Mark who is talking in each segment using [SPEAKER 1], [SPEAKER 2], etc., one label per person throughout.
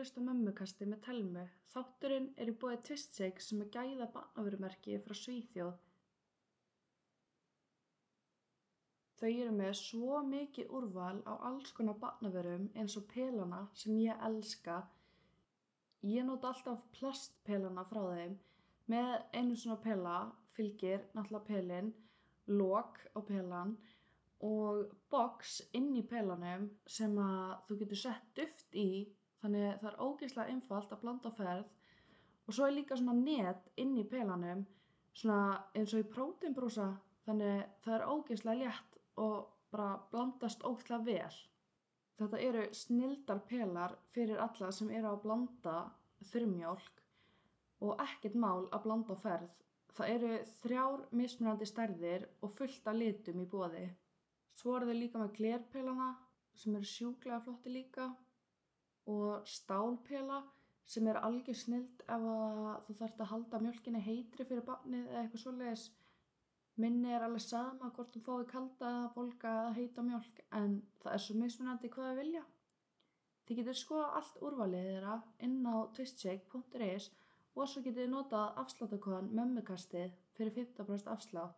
[SPEAKER 1] glímukasti með Telmu. Þátturinn er í búið Tvistsig sem er gæða barnavörumerki frá Svíþjóð. Þau eru með svo mikið úrval á alls konar barnavörum eins og pelana sem ég elska. Ég nota alltaf plastpelana frá þeim. Með einu svona pela fylgir náttúrulega pelin, lok á pelan og box inn í pelanum sem að þú getur sett duft í þannig það er ógeðslega einfalt að blanda á ferð og svo er líka svona net inn í pelanum svona eins og í prótinbrúsa þannig það er ógeðslega létt og bara blandast ógeðslega vel þetta eru snildar pelar fyrir alla sem eru að blanda þurrmjólk og ekkert mál að blanda á ferð það eru þrjár mismunandi stærðir og fullt af litum í bóði Svo eru þau líka með glerpelana sem eru sjúklega flotti líka og stálpela sem er algjör snild ef að þú þarfst að halda mjölkinni heitri fyrir barnið eða eitthvað svoleiðis. Minni er alveg sama hvort þú fáið kalda eða volga eða heita mjölk en það er svo mismunandi hvað þau vilja. Þið getur skoða allt úrvalið þeirra inn á twistshake.is og svo getur þið notað afsláttakon mömmukastið fyrir 15% afslátt.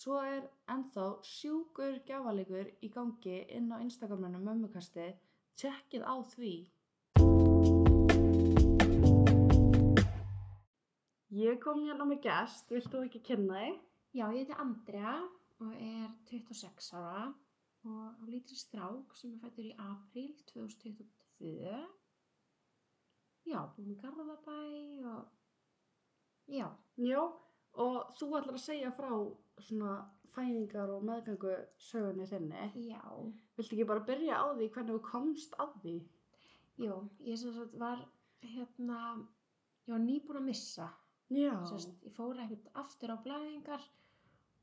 [SPEAKER 1] Svo er ennþá sjúkur gjafalegur í gangi inn á Instagraminu mömmukasti. Tjekkið á því. Ég kom hérna með gest, vilt þú ekki kynna þig?
[SPEAKER 2] Já, ég heiti Andrea og er 26 ára og á lítri strák sem er fættur í apríl 2022. Já, búin í Garðabæ og já,
[SPEAKER 1] Já, og þú ætlar að segja frá svona fæðingar og meðgangu sögunni þinni.
[SPEAKER 2] já.
[SPEAKER 1] Viltu ekki bara byrja á því hvernig þú komst að því?
[SPEAKER 2] Jú, ég sem sagt var hérna, ég var nýbúin að missa
[SPEAKER 1] Já.
[SPEAKER 2] Sest, ég fór ekkert aftur á blæðingar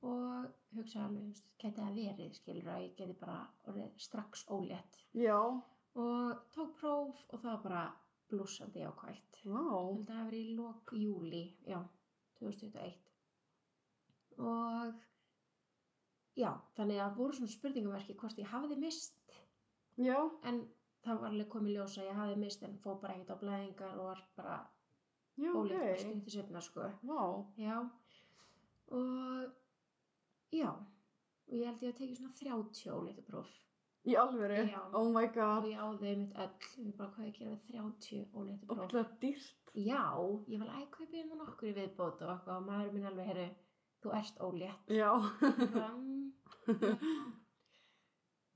[SPEAKER 2] og hugsaði alveg, þú veist, gæti það verið, skilur að ég geti bara orðið strax ólétt
[SPEAKER 1] Já.
[SPEAKER 2] og tók próf og það var bara blúsandi jákvætt.
[SPEAKER 1] Vá.
[SPEAKER 2] Ég held að það hafi verið í lok júli, já, 2021. Og já, þannig að voru svona spurningamarki hvort ég hafiði mist
[SPEAKER 1] Já.
[SPEAKER 2] en það var alveg komið ljós að ég hafiði mist en fór bara ekkert á blæðingar og var bara
[SPEAKER 1] Já,
[SPEAKER 2] ólétt okay.
[SPEAKER 1] ok.
[SPEAKER 2] stundið sefna, sko.
[SPEAKER 1] Vá.
[SPEAKER 2] Já, og já, og ég held ég að tekið svona 30 óleita próf
[SPEAKER 1] Í alvöru.
[SPEAKER 2] Já.
[SPEAKER 1] Oh my
[SPEAKER 2] og
[SPEAKER 1] god.
[SPEAKER 2] ég áði mitt öll, ég bara hvað ég að gera við 30 óleita próf.
[SPEAKER 1] Óglega dýrt.
[SPEAKER 2] Já, ég var að kaupa hérna nokkur í viðbót og eitthvað og maður minn alveg, herru, þú ert ólétt.
[SPEAKER 1] Já.
[SPEAKER 2] Ég bara, "Mm,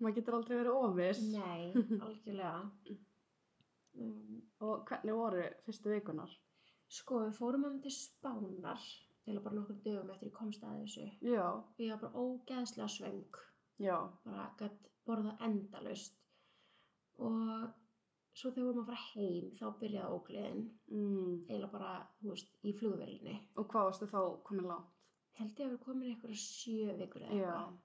[SPEAKER 1] Maður getur aldrei verið ofis.
[SPEAKER 2] Nei, algjörlega. Um,
[SPEAKER 1] Og hvernig voru fyrstu vikunar?
[SPEAKER 2] sko, við fórum hann til Spánar, til bara nokkur dögum eftir ég komst að þessu.
[SPEAKER 1] Já.
[SPEAKER 2] Ég var bara ógeðslega svöng.
[SPEAKER 1] Já.
[SPEAKER 2] bara gætt borða endalaust og svo þegar vorum að fara heim þá byrjaði ógleðin
[SPEAKER 1] Mm.
[SPEAKER 2] eiginlega bara, þú veist, í flugvelinni
[SPEAKER 1] Og hvað varstu þá komin langt?
[SPEAKER 2] held ég að vera komin í eitthvað sjö vikur eða
[SPEAKER 1] Já.
[SPEAKER 2] eitthvað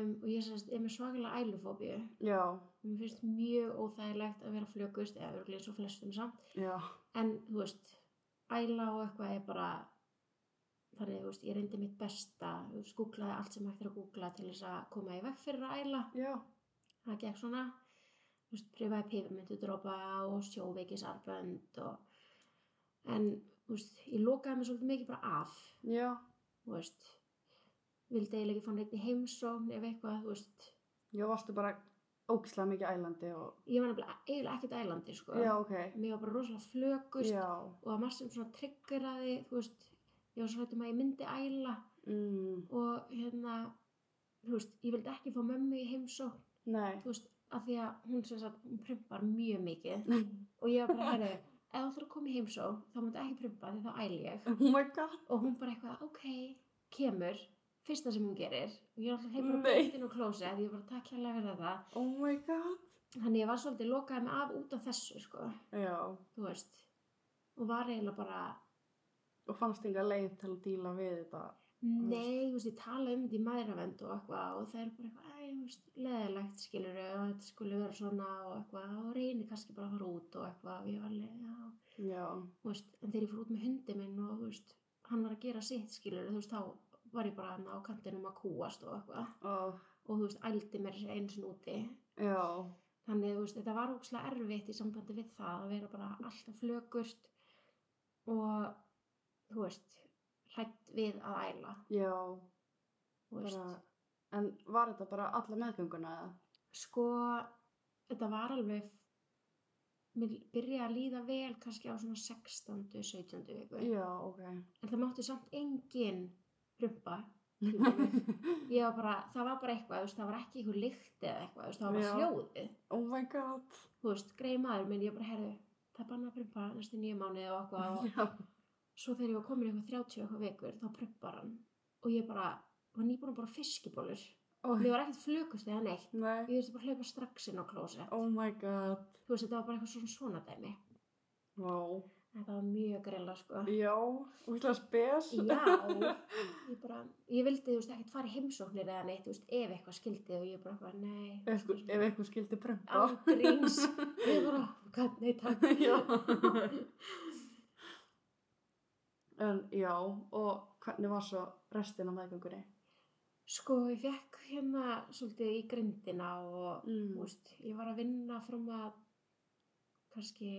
[SPEAKER 2] um, og ég semst, er með svakalega ælufóbíu
[SPEAKER 1] Já.
[SPEAKER 2] mér finnst mjög óþægilegt að vera flugust eða örglega eins og flestum samt
[SPEAKER 1] Já.
[SPEAKER 2] en, þú veist, æla og eitthvað er bara þannig, þú veist, ég reyndi mitt besta þú veist, googlaði allt sem hægt er að googla til þess að koma í veg fyrir að æla
[SPEAKER 1] Já.
[SPEAKER 2] það gekk svona þú veist, prifaði pifamöndudrópa og sjóveikisarbönd og en, þú veist, ég lokaði mig svolítið mikið bara af,
[SPEAKER 1] Já.
[SPEAKER 2] þú veist vildi eiginlega ekki fá neitt í heimsókn ef eitthvað, þú veist
[SPEAKER 1] Já, varstu bara ógislega mikið ælandi og...
[SPEAKER 2] ég var nefnilega eiginlega ekkert ælandi, sko
[SPEAKER 1] Já, ok.
[SPEAKER 2] mér var bara rosalega flökust
[SPEAKER 1] Já.
[SPEAKER 2] og það margt sem svona triggeraði, þú veist ég var svo hættum að ég myndi æla
[SPEAKER 1] Mm.
[SPEAKER 2] og hérna, þú veist, ég vildi ekki fá mömmu í heimsókn
[SPEAKER 1] Nei.
[SPEAKER 2] þú veist, af því að hún sem sagt, hún prumpar mjög mikið og ég var bara, herru, ef þú ætlar að koma í heimsó þá máttu ekki prumpa því þá æl ég
[SPEAKER 1] Oh my god.
[SPEAKER 2] og hún bara eitthvað, ok, kemur fyrsta sem hún gerir og ég er alltaf heim bara
[SPEAKER 1] Nei.
[SPEAKER 2] beint inn á klósa því ég bara takk hérlega fyrir það
[SPEAKER 1] Oh my god.
[SPEAKER 2] þannig ég var svolítið lokaði mig af út af þessu sko,
[SPEAKER 1] Já.
[SPEAKER 2] þú veist og var eiginlega bara,
[SPEAKER 1] Og fannst enga leið til að díla við þetta.
[SPEAKER 2] nei, þú veist, ég tala um þetta í maðuravend og eitthvað og það er bara eitthvað, æ, þú veist, leðilegt skilur og þetta skulle vera svona og eitthvað og reynir kannski bara að fara út og eitthvað og ég var leið, já,
[SPEAKER 1] Já.
[SPEAKER 2] Þú veist, en þegar ég fór út með hundi minn og þú veist, hann var að gera sitt skilur þú veist, þá var ég bara hann á kantinum að kúast og eitthvað
[SPEAKER 1] Og...
[SPEAKER 2] og þú veist, ældi mér eins og úti
[SPEAKER 1] Já.
[SPEAKER 2] Þannig, þú veist, þetta var ókslega erfitt í sambandi við það að vera bara alltaf flögurt og, þú veist, hrætt við að æla,
[SPEAKER 1] Já,
[SPEAKER 2] þú veist.
[SPEAKER 1] bara, en var þetta bara alla meðgönguna eða?
[SPEAKER 2] Sko, þetta var alveg, mér byrjaði að líða vel kannski á svona 16. 17. viku.
[SPEAKER 1] Já,
[SPEAKER 2] En það mátti samt engin rumpa.
[SPEAKER 1] ok.
[SPEAKER 2] Ég var bara, það var bara eitthvað, þú veist, það var ekki einhver lykt eða eitthvað, þú veist, það var bara
[SPEAKER 1] Já.
[SPEAKER 2] hljóðið.
[SPEAKER 1] oh my god.
[SPEAKER 2] Þú veist, greið maður minn, ég bara herði, það er bannað að prumpa næstu nýju mánuði og eitthvað og
[SPEAKER 1] Já.
[SPEAKER 2] svo þegar ég var komin í eitthvað 30 eitthvað vikur þá prumpar hann og ég bara var nýbúin að bara fiskibólur
[SPEAKER 1] Oh,
[SPEAKER 2] ég var ekkert flökust eða neitt
[SPEAKER 1] nei.
[SPEAKER 2] ég þurfti bara að hlaupa strax inn á klósett
[SPEAKER 1] Oh my god.
[SPEAKER 2] þú veist þetta var bara eitthvað svona svona dæmi
[SPEAKER 1] Vá.
[SPEAKER 2] þetta var mjög grilla sko
[SPEAKER 1] Já, útla spes.
[SPEAKER 2] já ég bara ég vildi þú veist ekkert fara í heimsóknir eða neitt þú veist ef eitthvað skildi og ég bara eitthvað nei
[SPEAKER 1] Ef einhver- ef eitthvað skildi prumpa.
[SPEAKER 2] ángríns ég bara hvað nei takk
[SPEAKER 1] já. En já, og hvernig var svo restin af meðgöngunni?
[SPEAKER 2] sko ég fekk hérna svolítið í grindina og
[SPEAKER 1] Mm.
[SPEAKER 2] Þú veist, ég var að vinna fram að kannski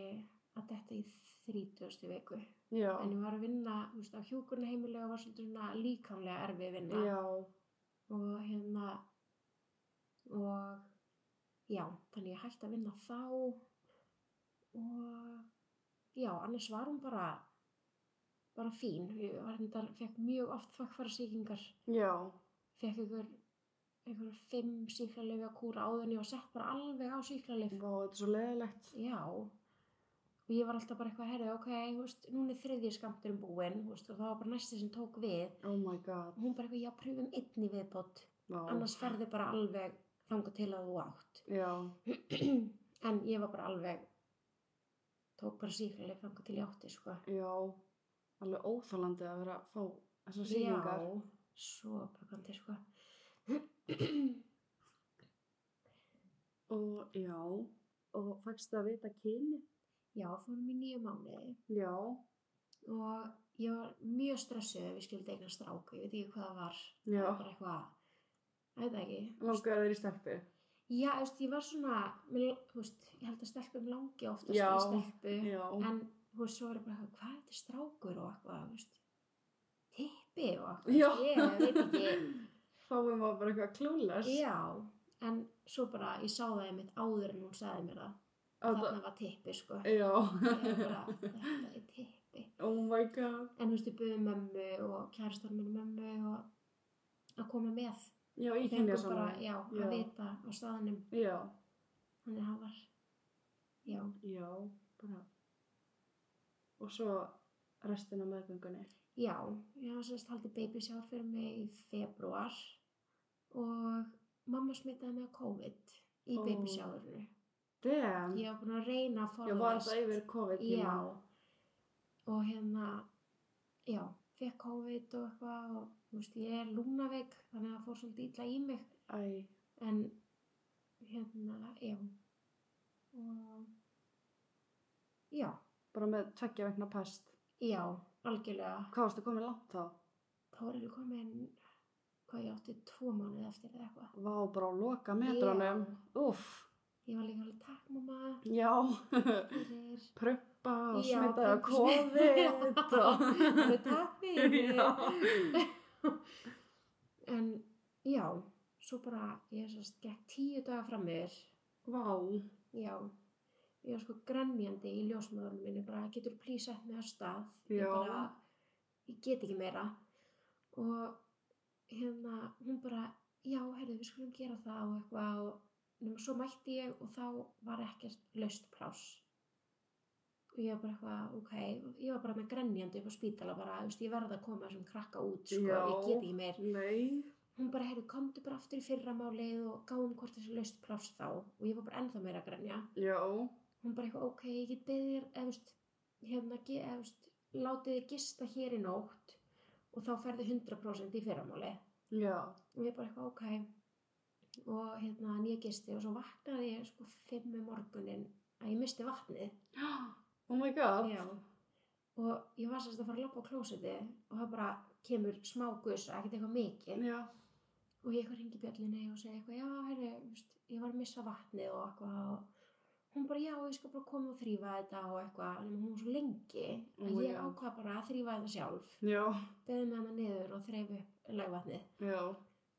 [SPEAKER 2] að þetta í 30. viku
[SPEAKER 1] Já,
[SPEAKER 2] en ég var að vinna þú veist, á hjúkurnaheimilega og var svolítið svona líkamlega erfið vinna
[SPEAKER 1] já,
[SPEAKER 2] og hérna og já, þannig ég hætti að vinna þá og já, annars var hún bara bara fín ég var hérna, fekk mjög oft þvakkfæra sýkingar
[SPEAKER 1] já,
[SPEAKER 2] fekk einhver einhver fimm síklarlefi að kúra áðunni og sett bara alveg á síklarlefi
[SPEAKER 1] vá, þetta er svo leðilegt.
[SPEAKER 2] Já, og ég var alltaf bara eitthvað, herri, ok, þú veist, núna er þriðji skamturinn búinn, þú veist, og það var bara næsti sem tók við.
[SPEAKER 1] Oh my god,
[SPEAKER 2] Og hún bara eitthvað, já, pröfum einn í viðbót,
[SPEAKER 1] vá.
[SPEAKER 2] annars ferði bara alveg þangað til að þú átt.
[SPEAKER 1] Já,
[SPEAKER 2] en ég var bara alveg, tók bara síklarleif þangað til ég átti, sko.
[SPEAKER 1] já, alveg óþálandi að vera að fá þessar sýningar.
[SPEAKER 2] Já, svo bakandi, sko.
[SPEAKER 1] Og já, og fækst það að vita kyni?
[SPEAKER 2] já, fórum í nýju mánuði
[SPEAKER 1] Já,
[SPEAKER 2] og ég var mjög stressuð ef ég skildi eignar strák, ég veit ekki hvað það var.
[SPEAKER 1] já,
[SPEAKER 2] Það var bara eitthvað, ég veit það ekki.
[SPEAKER 1] langar þeir í stelpu.
[SPEAKER 2] Já, þú veist, ég var svona, mér, þú veist, ég held að stelpum langi oftast
[SPEAKER 1] Já,
[SPEAKER 2] í stelpu,
[SPEAKER 1] Já,
[SPEAKER 2] en þú veist, svo er ég bara, eitthvað, hvað er þetta strákur og eitthvað, þú veist, tippi og
[SPEAKER 1] Já.
[SPEAKER 2] eitthvað, ég veit ekki,
[SPEAKER 1] þá er maður bara eitthvað klúles.
[SPEAKER 2] já, en svo bara, ég sá það einmitt áður en hún sagði mér það, þarna var tippi, sko,
[SPEAKER 1] Já,
[SPEAKER 2] ég var bara, þetta er tippi,
[SPEAKER 1] oh my god.
[SPEAKER 2] en þú veist, ég buði mömmu og kærastar minni mömmu og að koma með,
[SPEAKER 1] Já, ég kynja
[SPEAKER 2] fengum bara, já, að vita á staðanum,
[SPEAKER 1] Já,
[SPEAKER 2] þannig að það var, já.
[SPEAKER 1] já, bara. Og svo restina meðgöngunni.
[SPEAKER 2] Já, ég hafa sérst haldið babysjár fyrir mig í februar og mamma smitaði mig á COVID
[SPEAKER 1] Ó.
[SPEAKER 2] í oh. babysjárinu.
[SPEAKER 1] Damn.
[SPEAKER 2] Ég var búin að reyna
[SPEAKER 1] Já,
[SPEAKER 2] að
[SPEAKER 1] var
[SPEAKER 2] forðast.
[SPEAKER 1] þetta yfir COVID tíma?
[SPEAKER 2] Já, og hérna, já, fekk COVID og eitthvað og þú veist, ég er lúnaveik þannig að það fór svolítið illa í mig
[SPEAKER 1] Æ,
[SPEAKER 2] en hérna, já, og já,
[SPEAKER 1] bara með tveggja vegna pest.
[SPEAKER 2] já, algjörlega.
[SPEAKER 1] Hvað varstu komið langt þá?
[SPEAKER 2] þá er ég komin hvað ég átti tvo mánuði eftir eða eitthvað
[SPEAKER 1] Vá, bara á loka metranum. Úff,
[SPEAKER 2] ég var líka alveg takk mamma
[SPEAKER 1] já.
[SPEAKER 2] fyrir
[SPEAKER 1] Pröppa og
[SPEAKER 2] Já,
[SPEAKER 1] smitaði á COVID og...
[SPEAKER 2] alveg takk fyrir
[SPEAKER 1] Já.
[SPEAKER 2] en já svo bara ég sérst gekk tíu daga fram yfir
[SPEAKER 1] Vá,
[SPEAKER 2] já ég var sko grenjandi í ljósmaðurum minni bara getur plís sett mig af stað ég
[SPEAKER 1] Já.
[SPEAKER 2] bara ég get ekki meira og hérna hún bara já herðu við skulum gera það og eitthvað og nema svo mætti ég og þá var ekkert laust pláss og ég var bara eitthvað ok og ég var bara með grenjandi upp á spítala bara þú veist ég verð að koma þessum krakka út sko
[SPEAKER 1] Já.
[SPEAKER 2] ég get ekki meir
[SPEAKER 1] nei.
[SPEAKER 2] hún bara, heyrðu, komdu bara aftur í fyrramálið og gáum hvort þessi laust pláss þá og ég var bara ennþá meira að grenja
[SPEAKER 1] Já,
[SPEAKER 2] hún bara eitthvað, ok, ég get beðið þér eða, þú veist, hérna, ge- eða, þú veist, látið þið gista hér í nótt og þá ferði 100% í fyrramáli
[SPEAKER 1] já,
[SPEAKER 2] og ég bara eitthvað, ok og hérna, en ég gisti og svo vaknaði ég sko fimm um morgunin að ég misti vatnið
[SPEAKER 1] oh my god.
[SPEAKER 2] Já. og ég var sérst að fara að lappa á klósiti og það bara kemur smá gusa, ekkert eitthvað mikið
[SPEAKER 1] Já,
[SPEAKER 2] og ég eitthvað ringi bjöllinni og segi eitthvað, já, herri, veist, ég var að missa vatnið og eitthvað og hún bara, já, ég skal bara koma og þrýfa þetta og eitthvað, en hún var svo lengi að
[SPEAKER 1] Ó,
[SPEAKER 2] ég
[SPEAKER 1] já.
[SPEAKER 2] ákvað bara að þrýfa þetta sjálf
[SPEAKER 1] Já,
[SPEAKER 2] beðið með hana niður og þreif upp lagvatnið
[SPEAKER 1] já,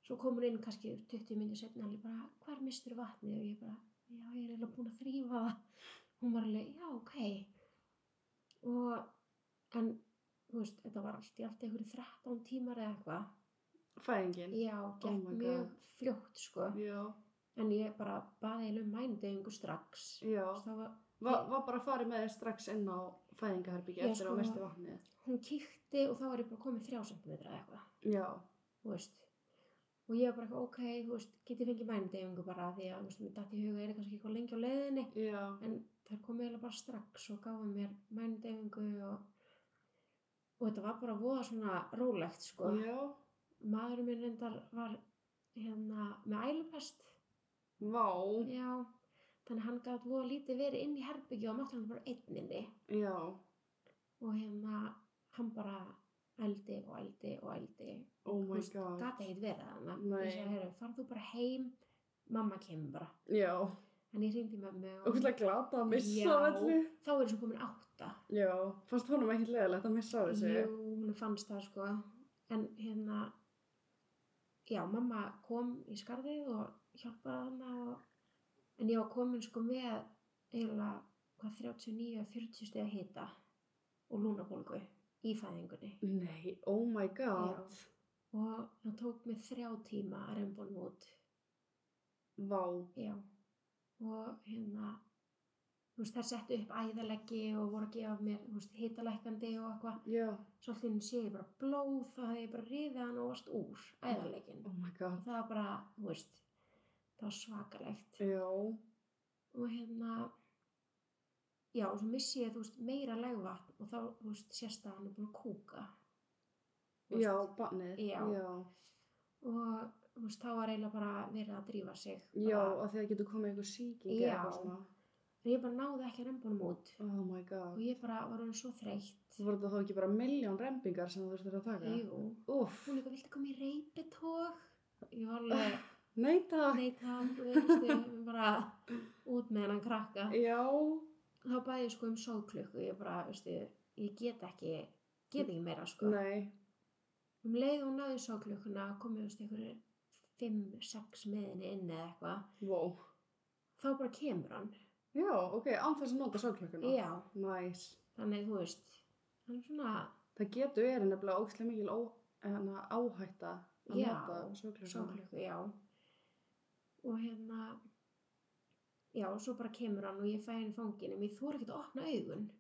[SPEAKER 2] svo kom hún inn kannski 20 minni setna alveg bara, hvar mistur vatnið og ég bara, já, ég er eiginlega búin að þrýfa það hún var alveg, já, ok og en, þú veist, þetta var allt í allt einhverju 13 tímar eða eitthvað
[SPEAKER 1] fæðingin.
[SPEAKER 2] já, gekk
[SPEAKER 1] Oh my
[SPEAKER 2] mjög
[SPEAKER 1] God.
[SPEAKER 2] fljótt sko,
[SPEAKER 1] Já,
[SPEAKER 2] en ég bara baði eiginlega um mændeyingu strax
[SPEAKER 1] já.
[SPEAKER 2] Þú veist, það var,
[SPEAKER 1] Va, var bara farið með þér strax inn á fæðingaherbyggja
[SPEAKER 2] Já,
[SPEAKER 1] eftir
[SPEAKER 2] sko.
[SPEAKER 1] á vestu vatnið.
[SPEAKER 2] hún kíkti og þá var ég bara komið 3 cm eða eitthvað
[SPEAKER 1] Já,
[SPEAKER 2] þú veist og ég var bara eitthvað, ok, þú veist, get ég fengið mændeyfingu bara af því að, þú veist, mér datt í huga er kannski eitthvað lengi á leiðinni
[SPEAKER 1] já,
[SPEAKER 2] en þær komið eiginlega bara strax og gáði mér mændeyfingu og, og þetta var bara voða svona rólegt, sko
[SPEAKER 1] já.
[SPEAKER 2] maðurinn minn reyndar var hérna með ælupest
[SPEAKER 1] Vá,
[SPEAKER 2] já, þannig að hann gátt voða lítið verið inn í herbyggju og mátti hann bara einninni
[SPEAKER 1] já,
[SPEAKER 2] og hérna hann bara ældi og ældi og ældi
[SPEAKER 1] oh my god.
[SPEAKER 2] gata ekkert verið þannig
[SPEAKER 1] Nei.
[SPEAKER 2] ég sagði, herru, farð þú bara heim mamma kemur bara
[SPEAKER 1] Já,
[SPEAKER 2] en ég hringdi í mömmu
[SPEAKER 1] og hvernig glata að missa
[SPEAKER 2] Já.
[SPEAKER 1] af öllu.
[SPEAKER 2] þá er þessu komin átta
[SPEAKER 1] Já, fannst honum ekkert leðilegt að missa af þessu?
[SPEAKER 2] jú, hún fannst það sko en hérna já, mamma kom í skarðið og hjálpaði hana og... en ég var komin sko með eiginlega hvað 39-40 steg að hita og lúnabólgu í fæðingunni
[SPEAKER 1] Nei, oh my god.
[SPEAKER 2] og það tók mig þrjá tíma að remba hann út
[SPEAKER 1] Vá,
[SPEAKER 2] Já, og hérna, þú veist, þær settu upp æðaleggi og voru að gefa mér, þú veist, hitalækandi og eitthvað.
[SPEAKER 1] já,
[SPEAKER 2] Svo allir sé ég bara blóð, þá hefði ég bara riðið hann og varst úr æðaleggin.
[SPEAKER 1] oh my god.
[SPEAKER 2] Það var bara, þú veist, það var svakalegt.
[SPEAKER 1] Já,
[SPEAKER 2] Og hérna, já, og svo missi ég, þú veist, meira legvatn og þá, þú veist, sérst að hann er búin að kúka. Þú veist,
[SPEAKER 1] já, bannið.
[SPEAKER 2] Já.
[SPEAKER 1] já.
[SPEAKER 2] Og, þú veist, þá var eiginlega bara verið að drífa sig.
[SPEAKER 1] Já,
[SPEAKER 2] Bara-
[SPEAKER 1] að því það getur komið einhver sýking eða
[SPEAKER 2] Ah. Já.
[SPEAKER 1] eitthvað svona.
[SPEAKER 2] En ég bara náði ekki að remba hann út.
[SPEAKER 1] Oh my god.
[SPEAKER 2] Og ég bara var hann svo þreytt.
[SPEAKER 1] Þú voru þetta þá ekki bara miljón rempingar sem þú þurftir að taka?
[SPEAKER 2] Jú,
[SPEAKER 1] Úff,
[SPEAKER 2] hún eitthvað vilti koma í reypitók. Ég var alveg,
[SPEAKER 1] nei takk.
[SPEAKER 2] nei takk, þú veist, bara út með hennan krakka.
[SPEAKER 1] Já,
[SPEAKER 2] Þá bæði ég sko um sóklukku, ég bara, veistu, ég get ekki, get ekki meira sko.
[SPEAKER 1] nei,
[SPEAKER 2] Um leið og hún náði í sóklukkuna, komið, veistu, einhverju fimm, sex meðinni inn eða eitthvað.
[SPEAKER 1] wow.
[SPEAKER 2] Þá bara kemur hann.
[SPEAKER 1] Já, ok, án þess að nota sálklökkuna.
[SPEAKER 2] Já,
[SPEAKER 1] Næs.
[SPEAKER 2] þannig þú veist, hann er svona,
[SPEAKER 1] Það getur verið nefnilega ógislega mikil ó, hana, áhætta að
[SPEAKER 2] Já,
[SPEAKER 1] nota sálklökkuna.
[SPEAKER 2] sóklukku, já og hérna já, og svo bara kemur hann og ég fæ hann í fanginu, mér þú er ekkert að opna augun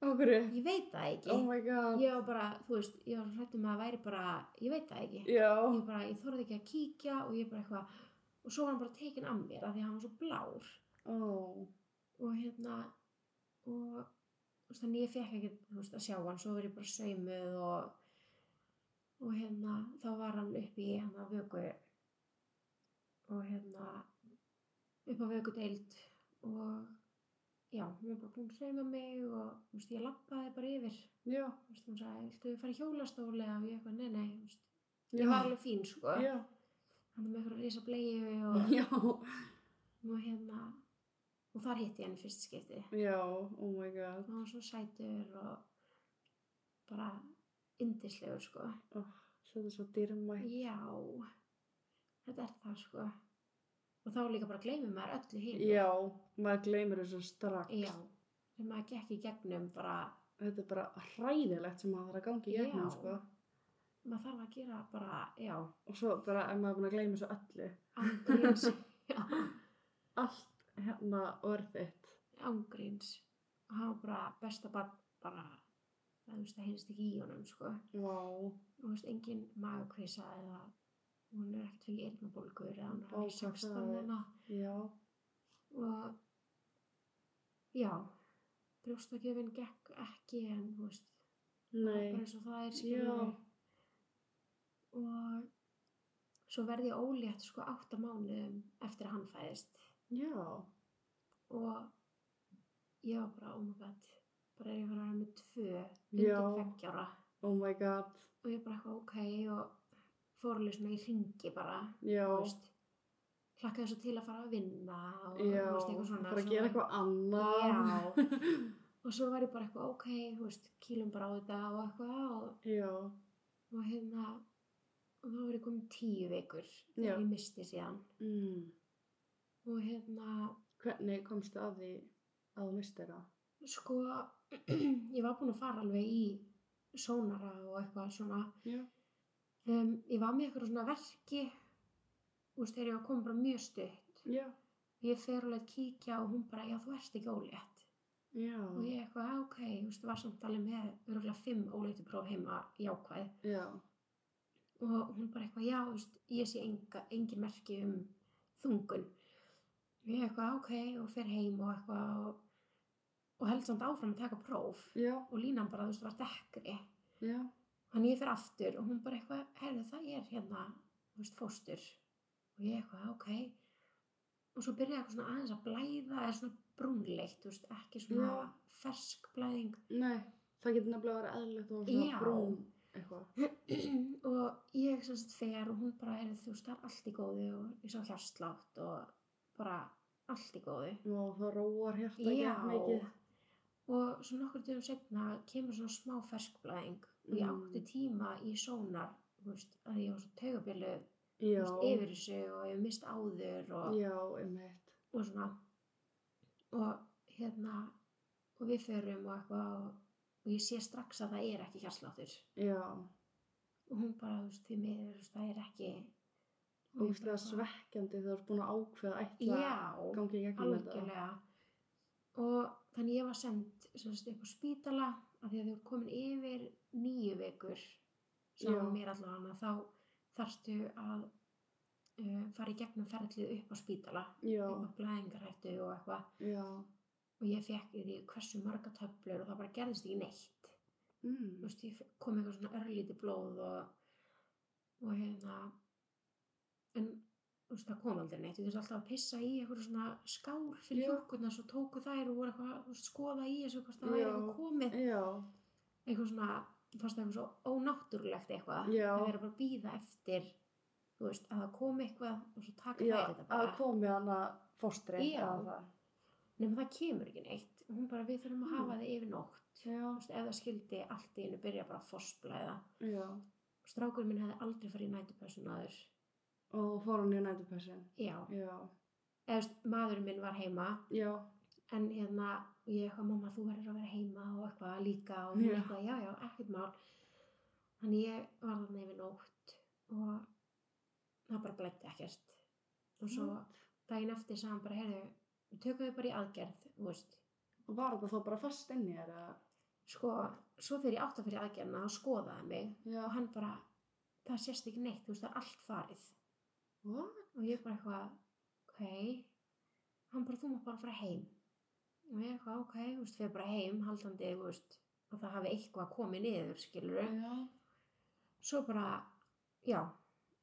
[SPEAKER 1] Okkur,
[SPEAKER 2] ég veit það ekki
[SPEAKER 1] oh my god.
[SPEAKER 2] ég var bara, þú veist, ég var hrættum að það væri bara ég veit það ekki,
[SPEAKER 1] Já,
[SPEAKER 2] ég bara, ég þorði ekki að kíkja og ég bara eitthvað, og svo var hann bara tekinn af mér af því að hann var svo blár
[SPEAKER 1] ó,
[SPEAKER 2] og hérna og þú veist, þannig ég fekk ekki þú veist, að sjá hann, svo var ég bara saumuð og, og hérna þá var hann upp í hérna vöku og hérna upp á vöku deild og já, hún var bara búin að sauma mig og þú veist, ég lappaði bara yfir
[SPEAKER 1] já,
[SPEAKER 2] þú veist, hún sagði, viltu fara í hjólastóli og ég eitthvað, nei, nei, þú veist,
[SPEAKER 1] já,
[SPEAKER 2] ég var alveg fín sko,
[SPEAKER 1] já,
[SPEAKER 2] hann var með eitthvað risa bleiðu og,
[SPEAKER 1] já,
[SPEAKER 2] og hérna og þar hitti ég hann í fyrst skipti
[SPEAKER 1] já, oh my god.
[SPEAKER 2] og hann var svo sætur og bara yndislegur sko
[SPEAKER 1] Þetta er svo dýrmætt.
[SPEAKER 2] já þetta er það sko og þá líka bara gleymir maður öllu hinn
[SPEAKER 1] Já, maður gleymir þessu strax.
[SPEAKER 2] já sem maður gekk í gegnum bara
[SPEAKER 1] Þetta er bara hræðilegt sem maður þarf að gangi í gegnum,
[SPEAKER 2] Já.
[SPEAKER 1] sko.
[SPEAKER 2] maður þarf að gera bara já
[SPEAKER 1] Og svo bara ef maður er búin að gleyma þessu öllu.
[SPEAKER 2] ángríns já,
[SPEAKER 1] Allt hérna orðitt.
[SPEAKER 2] ángríns og hann var bara besta barn bara það þú veist það heyrist ekki í honum sko
[SPEAKER 1] Vá.
[SPEAKER 2] og þú veist engin magakvisa eða hún er ekkert fyrir eyrnabólgur eða hún er
[SPEAKER 1] Ó,
[SPEAKER 2] alveg
[SPEAKER 1] hvað
[SPEAKER 2] 16
[SPEAKER 1] það er-
[SPEAKER 2] eða
[SPEAKER 1] Já.
[SPEAKER 2] og já brjóstakjöfin gekk ekki en þú veist það var
[SPEAKER 1] Nei.
[SPEAKER 2] bara eins og það er skilur og svo verði ég ólétt sko átta mánuðum eftir að hann fæðist
[SPEAKER 1] Já.
[SPEAKER 2] og ég var bara oh my god bara er ég var að vera með tvö
[SPEAKER 1] Já.
[SPEAKER 2] undir tveggjára
[SPEAKER 1] Oh my god.
[SPEAKER 2] og ég bara eitthvað ok og fór alveg svona í ringi bara
[SPEAKER 1] já,
[SPEAKER 2] þú veist, hlakkaði svo til að fara að vinna og þú
[SPEAKER 1] já,
[SPEAKER 2] veist, eitthvað svona
[SPEAKER 1] bara
[SPEAKER 2] Svo
[SPEAKER 1] að gera
[SPEAKER 2] var-
[SPEAKER 1] eitthvað annað.
[SPEAKER 2] já, og svo var ég bara eitthvað ok, þú veist, kýlum bara á þetta og eitthvað og,
[SPEAKER 1] Já,
[SPEAKER 2] og hérna og þá var ég komin tíu vikur
[SPEAKER 1] Já.
[SPEAKER 2] þegar ég misti síðan
[SPEAKER 1] mm.
[SPEAKER 2] og hérna,
[SPEAKER 1] Hvernig komstu að því að þú mistir það?
[SPEAKER 2] sko ég var búin að fara alveg í sónara og eitthvað svona
[SPEAKER 1] Já.
[SPEAKER 2] um, ég var með eitthvað svona verki þú veist, þegar ég var komin bara mjög stutt
[SPEAKER 1] Já.
[SPEAKER 2] ég fer alveg að kíkja og hún bara, já, þú ert ekki ólétt
[SPEAKER 1] Já.
[SPEAKER 2] og ég eitthvað, "Já, ok, þú veist, var samt alveg með örgulega fimm óléttu próf heima jákvæð
[SPEAKER 1] Já.
[SPEAKER 2] og hún bara eitthvað, já, þú veist, ég sé enga, engin merki um þungun og ég eitthvað, ok, og fer heim og eitthvað og, og held samt áfram að taka próf
[SPEAKER 1] Já.
[SPEAKER 2] og línan bara, þú veist, var dekkri
[SPEAKER 1] Já.
[SPEAKER 2] þannig ég fer aftur og hún bara eitthvað, herðu, það er hérna, þú veist, fóstur og ég eitthvað, ok og svo byrjaði eitthvað svona aðeins að blæða eða svona brúnleitt, þú veist, ekki svona
[SPEAKER 1] Já.
[SPEAKER 2] fersk blæðing
[SPEAKER 1] Nei, það getur nefnilega að vera eðlilegt og svona
[SPEAKER 2] Já.
[SPEAKER 1] brún eitthvað.
[SPEAKER 2] og ég sem sagt fer og hún bara er þú veist það er allt í góðu og ég sá hjarslátt og bara allt í góðu
[SPEAKER 1] Og það róar hérta ekki mikið.
[SPEAKER 2] og svo nokkur dögum setna kemur svona smá ferskblæðing og ég
[SPEAKER 1] Mm.
[SPEAKER 2] átti tíma í sónar þú veist að ég var svo taugabjölu
[SPEAKER 1] Já.
[SPEAKER 2] yfir þessu og ég mist áður og,
[SPEAKER 1] Já, einmitt.
[SPEAKER 2] og svona og hérna og við förum og eitthvað og, og ég sé strax að það er ekki hjarsláttur
[SPEAKER 1] Já.
[SPEAKER 2] og hún bara, þú veist, því miður, þú veist, það er ekki
[SPEAKER 1] Og þú veist það svekkjandi þegar þú ert búin að ákveða eitthvað
[SPEAKER 2] já,
[SPEAKER 1] gangi í gegnum þetta.
[SPEAKER 2] algjörlega og þannig ég var send semst, upp á spítala af því að þau voru komin yfir nýju vikur
[SPEAKER 1] Já.
[SPEAKER 2] saman mér allavega þá þarftu að uh, fara í gegnum ferlið upp á spítala
[SPEAKER 1] Já,
[SPEAKER 2] upp á blæðingarhættu og eitthvað
[SPEAKER 1] já.
[SPEAKER 2] og ég fekk í því hversu marga töflur og það bara gerðist ekki neitt þú
[SPEAKER 1] Mm.
[SPEAKER 2] veist, ég fe- kom eitthvað svona örlíti blóð og, og hérna en þú veist, það kom aldrei neitt ég þurfti alltaf að pissa í eitthvað svona skár fyrir
[SPEAKER 1] Já.
[SPEAKER 2] hjókurna svo tóku þær og voru eitthvað þú veist, skoða í þessu hvort það væri
[SPEAKER 1] Já.
[SPEAKER 2] eitthvað komið
[SPEAKER 1] Já,
[SPEAKER 2] eitthvað svona, fannst það eitthvað svo ónáttúrulegt eitthvað
[SPEAKER 1] Já.
[SPEAKER 2] að vera bara að býða eftir þú veist, að það kom eitthvað og svo taka
[SPEAKER 1] já,
[SPEAKER 2] þær þetta
[SPEAKER 1] að
[SPEAKER 2] bara
[SPEAKER 1] komið hana fóstri.
[SPEAKER 2] Já.
[SPEAKER 1] eða það.
[SPEAKER 2] nema það kemur ekki neitt og hún bara við þurfum að
[SPEAKER 1] Mm.
[SPEAKER 2] hafa þið yfir nótt
[SPEAKER 1] Já,
[SPEAKER 2] Þú veist, ef það skildi allt í einu byrja bara að fórsblæða
[SPEAKER 1] já.
[SPEAKER 2] strákur minn hefði aldrei farið í nætupessun aður
[SPEAKER 1] Og þú fór hann í nætupessin.
[SPEAKER 2] já,
[SPEAKER 1] Já,
[SPEAKER 2] eða þú veist, maðurinn minn var heima
[SPEAKER 1] já,
[SPEAKER 2] en hérna, og ég eitthvað, mamma þú verður að vera heima og eitthvað líka og hún
[SPEAKER 1] Já.
[SPEAKER 2] eitthvað, já, já, ekkert mál þannig ég var þarna yfir nótt og það bara blætti ekkert og svo
[SPEAKER 1] What?
[SPEAKER 2] daginn eftir sagði hann bara, heyrðu, við tökum við bara í aðgerð þú veist,
[SPEAKER 1] Og var þetta þá bara fast inn í þér? eða?
[SPEAKER 2] sko, svo þegar ég átti fyrir aðgerðina þá skoðaði hann mig
[SPEAKER 1] Já.
[SPEAKER 2] og hann bara, það sést ekki neitt þú veist, það er allt farið
[SPEAKER 1] What?
[SPEAKER 2] og ég bara eitthvað, ok hann bara, þú mátt bara fara heim og ég eitthvað, ok, þú veist, fyrir bara heim haldandi, þú veist, að það hafi eitthvað komið niður, skilur
[SPEAKER 1] Já.
[SPEAKER 2] svo bara, já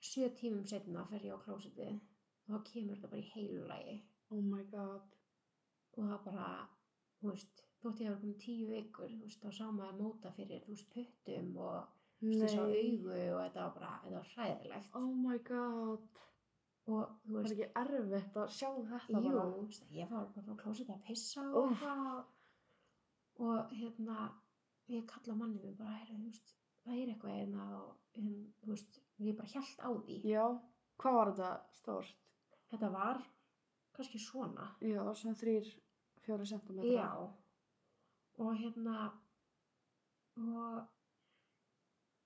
[SPEAKER 2] sjö tímum setna fer ég á klósitið og þá kemur þetta bara í heilulagi
[SPEAKER 1] Oh my god.
[SPEAKER 2] og það bara, þú veist þótt ég hafa komið tíu vikur, þú veist, þá sá maður móta fyrir, þú veist, puttum og þú veist, þessu augu og þetta var bara, þetta var hræðilegt
[SPEAKER 1] Oh my god.
[SPEAKER 2] og þú
[SPEAKER 1] Var
[SPEAKER 2] veist,
[SPEAKER 1] ekki erfitt að sjá þetta
[SPEAKER 2] Jú,
[SPEAKER 1] bara?
[SPEAKER 2] veist, ég var bara á klósið að pissa
[SPEAKER 1] Úff.
[SPEAKER 2] og eitthvað og hérna ég kalla manni minn bara heyrðu, þú veist, það er eitthvað hérna og en, þú veist, ég bara hjælt á því
[SPEAKER 1] Já. Hvað var þetta stórt?
[SPEAKER 2] þetta var kannski svona
[SPEAKER 1] Já, svona þrýr, fjóri sentimetra.
[SPEAKER 2] já og hérna og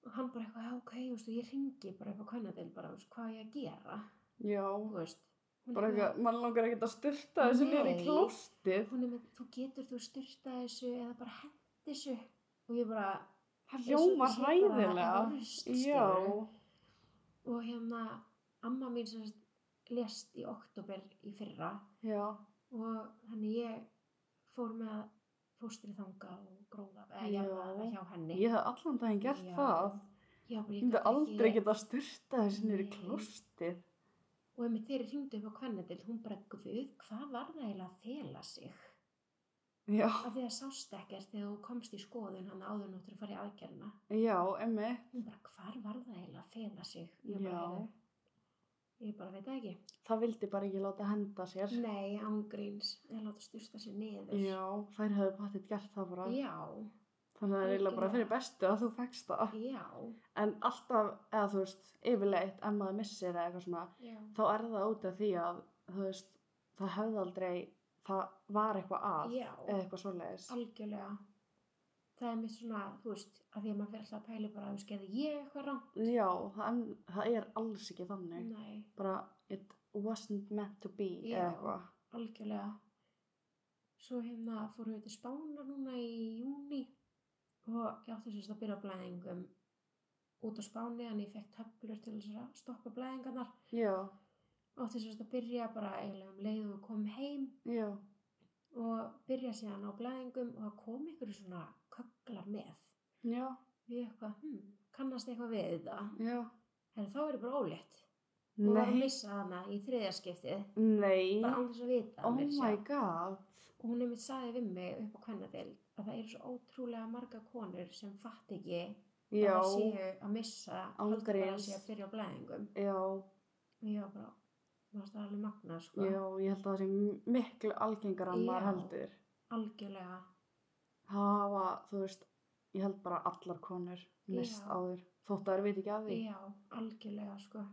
[SPEAKER 2] og hann bara eitthvað, já, ok, þú veist, og ég ringi bara eitthvað kvennadil bara, þú veist, hvað á ég að gera
[SPEAKER 1] Já.
[SPEAKER 2] þú veist Hún
[SPEAKER 1] Bara
[SPEAKER 2] eitthvað-
[SPEAKER 1] eitthvað, mann langar ekkert að styrta þessu niður í
[SPEAKER 2] Nei.
[SPEAKER 1] klóstið.
[SPEAKER 2] hún er með, þú getur þú styrta þessu eða bara hendi þessu og ég bara
[SPEAKER 1] Það
[SPEAKER 2] eins og
[SPEAKER 1] hljóma
[SPEAKER 2] ég sé bara
[SPEAKER 1] hræðilega.
[SPEAKER 2] eitthvað rusl,
[SPEAKER 1] Já.
[SPEAKER 2] skilurðu. og hérna amma mín sem sagt, lést í oktober í fyrra
[SPEAKER 1] Já.
[SPEAKER 2] og þannig ég fór með fóstri þanga og gróða eða
[SPEAKER 1] Já.
[SPEAKER 2] jarða það hjá henni
[SPEAKER 1] Ég hef allan daginn gert
[SPEAKER 2] Já.
[SPEAKER 1] það.
[SPEAKER 2] Já, bara,
[SPEAKER 1] Ég myndi
[SPEAKER 2] gat
[SPEAKER 1] aldrei geta styrta þessu niður í
[SPEAKER 2] Nei.
[SPEAKER 1] klóstið.
[SPEAKER 2] og ef mér þeirri hringdu upp á kvennadil hún bara, guð, hvað var það eiginlega að þela sig
[SPEAKER 1] Já,
[SPEAKER 2] Af því að sást ekkert þegar þú komst í skoðun hann áður nóttur að fara í aðgerðina.
[SPEAKER 1] já, emmi.
[SPEAKER 2] Hún bara, hvar var það eiginlega að fela sig? Ég bara,
[SPEAKER 1] Já.
[SPEAKER 2] "Heyrðu, Ég bara veit það ekki.
[SPEAKER 1] Það vildi bara ekki láta henda sér.
[SPEAKER 2] Nei, ángríns. Ég láta styrsta sér niður.
[SPEAKER 1] Já, þær hefðu bættið gert það bara.
[SPEAKER 2] Já,
[SPEAKER 1] Þannig að það er eiginlega bara fyrir bestu að þú fegst það.
[SPEAKER 2] já,
[SPEAKER 1] En alltaf, eða þú veist, yfirleitt, ef maður missir eða eitthvað svona,
[SPEAKER 2] já.
[SPEAKER 1] þá er það út af því að, þú veist, það hefði aldrei, það var eitthvað að.
[SPEAKER 2] Já.
[SPEAKER 1] Eða eitthvað svoleiðis.
[SPEAKER 2] Algjörlega. Það er mitt svona, þú veist, að því að maður fyrir alltaf að pæli bara að þú skerði ég eitthvað rangt.
[SPEAKER 1] Já, það, það er alls ekki þannig.
[SPEAKER 2] Nei,
[SPEAKER 1] Bara, it wasn't meant to be, eða
[SPEAKER 2] Já.
[SPEAKER 1] eitthvað.
[SPEAKER 2] algjörlega. Svo hérna fórum við til Spánar núna í júni og ég átti sérst að byrja á blæðingum út á Spáni en ég fekk töflur til þess að stoppa blæðingarnar.
[SPEAKER 1] Já,
[SPEAKER 2] Átti sérst að byrja bara eiginlega um leið og við komum heim
[SPEAKER 1] já,
[SPEAKER 2] og byrja síðan á blæðingum og það kom ykkur svona köglar með.
[SPEAKER 1] já,
[SPEAKER 2] Við eitthvað, hm, kannast eitthvað við þetta?
[SPEAKER 1] já.
[SPEAKER 2] En þá er ég bara ólétt. Hún var að
[SPEAKER 1] Nei,
[SPEAKER 2] missa hana í þriðja skiptið.
[SPEAKER 1] nei,
[SPEAKER 2] Bara án þess að vita.
[SPEAKER 1] oh
[SPEAKER 2] meira að
[SPEAKER 1] my
[SPEAKER 2] segja.
[SPEAKER 1] god.
[SPEAKER 2] Og hún einmitt sagði við mig upp á kvennadeild að það eru svo ótrúlega marga konur sem fatt ekki að
[SPEAKER 1] Já,
[SPEAKER 2] það séu að missa halda bara að
[SPEAKER 1] Ángríns.
[SPEAKER 2] séu að byrja á blæðingum.
[SPEAKER 1] já.
[SPEAKER 2] Og ég var bara, mér varst það alveg magna, sko.
[SPEAKER 1] Já, ég held að það sé miklu algengar en maður
[SPEAKER 2] Já.
[SPEAKER 1] heldur.
[SPEAKER 2] Algjörlega.
[SPEAKER 1] Hafa, þú veist, ég held bara allar konur mist
[SPEAKER 2] Já.
[SPEAKER 1] áður. Þótt að þær veit ekki af því.
[SPEAKER 2] Já, algjörlega, sko.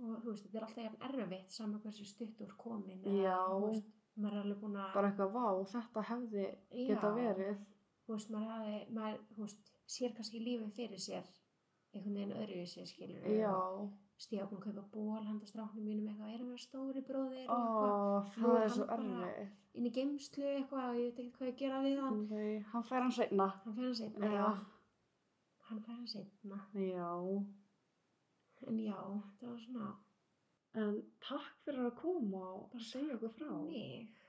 [SPEAKER 2] Og þú veist, þetta er alltaf jafn erfitt saman hversu stutt úr komin. eða,
[SPEAKER 1] Já.
[SPEAKER 2] þú veist, Maður er alveg búin að...
[SPEAKER 1] Bara eitthvað, vá, þetta hefði geta
[SPEAKER 2] Já.
[SPEAKER 1] verið.
[SPEAKER 2] þú veist, maður hafi, maður, þú veist, sér kannski lífið fyrir sér einhvern veginn öðruvísi, skilur
[SPEAKER 1] Já,
[SPEAKER 2] Stíða búin að kaupa ból handa stráknum mínum eitthvað, erum við stóri bróðir
[SPEAKER 1] ó,
[SPEAKER 2] og eitthvað, Nú
[SPEAKER 1] það
[SPEAKER 2] er
[SPEAKER 1] er svo
[SPEAKER 2] hann bara-
[SPEAKER 1] erfið.
[SPEAKER 2] inn í geimslu eitthvað og ég veit ekkert hvað ég gera við hann.
[SPEAKER 1] Nei, hann fær hann seinna.
[SPEAKER 2] Hann fær hann seinna,
[SPEAKER 1] Já.
[SPEAKER 2] já. Hann fær hann seinna.
[SPEAKER 1] Já,
[SPEAKER 2] En já, það var svona
[SPEAKER 1] en takk fyrir að koma og bara segja okkur frá.
[SPEAKER 2] mig.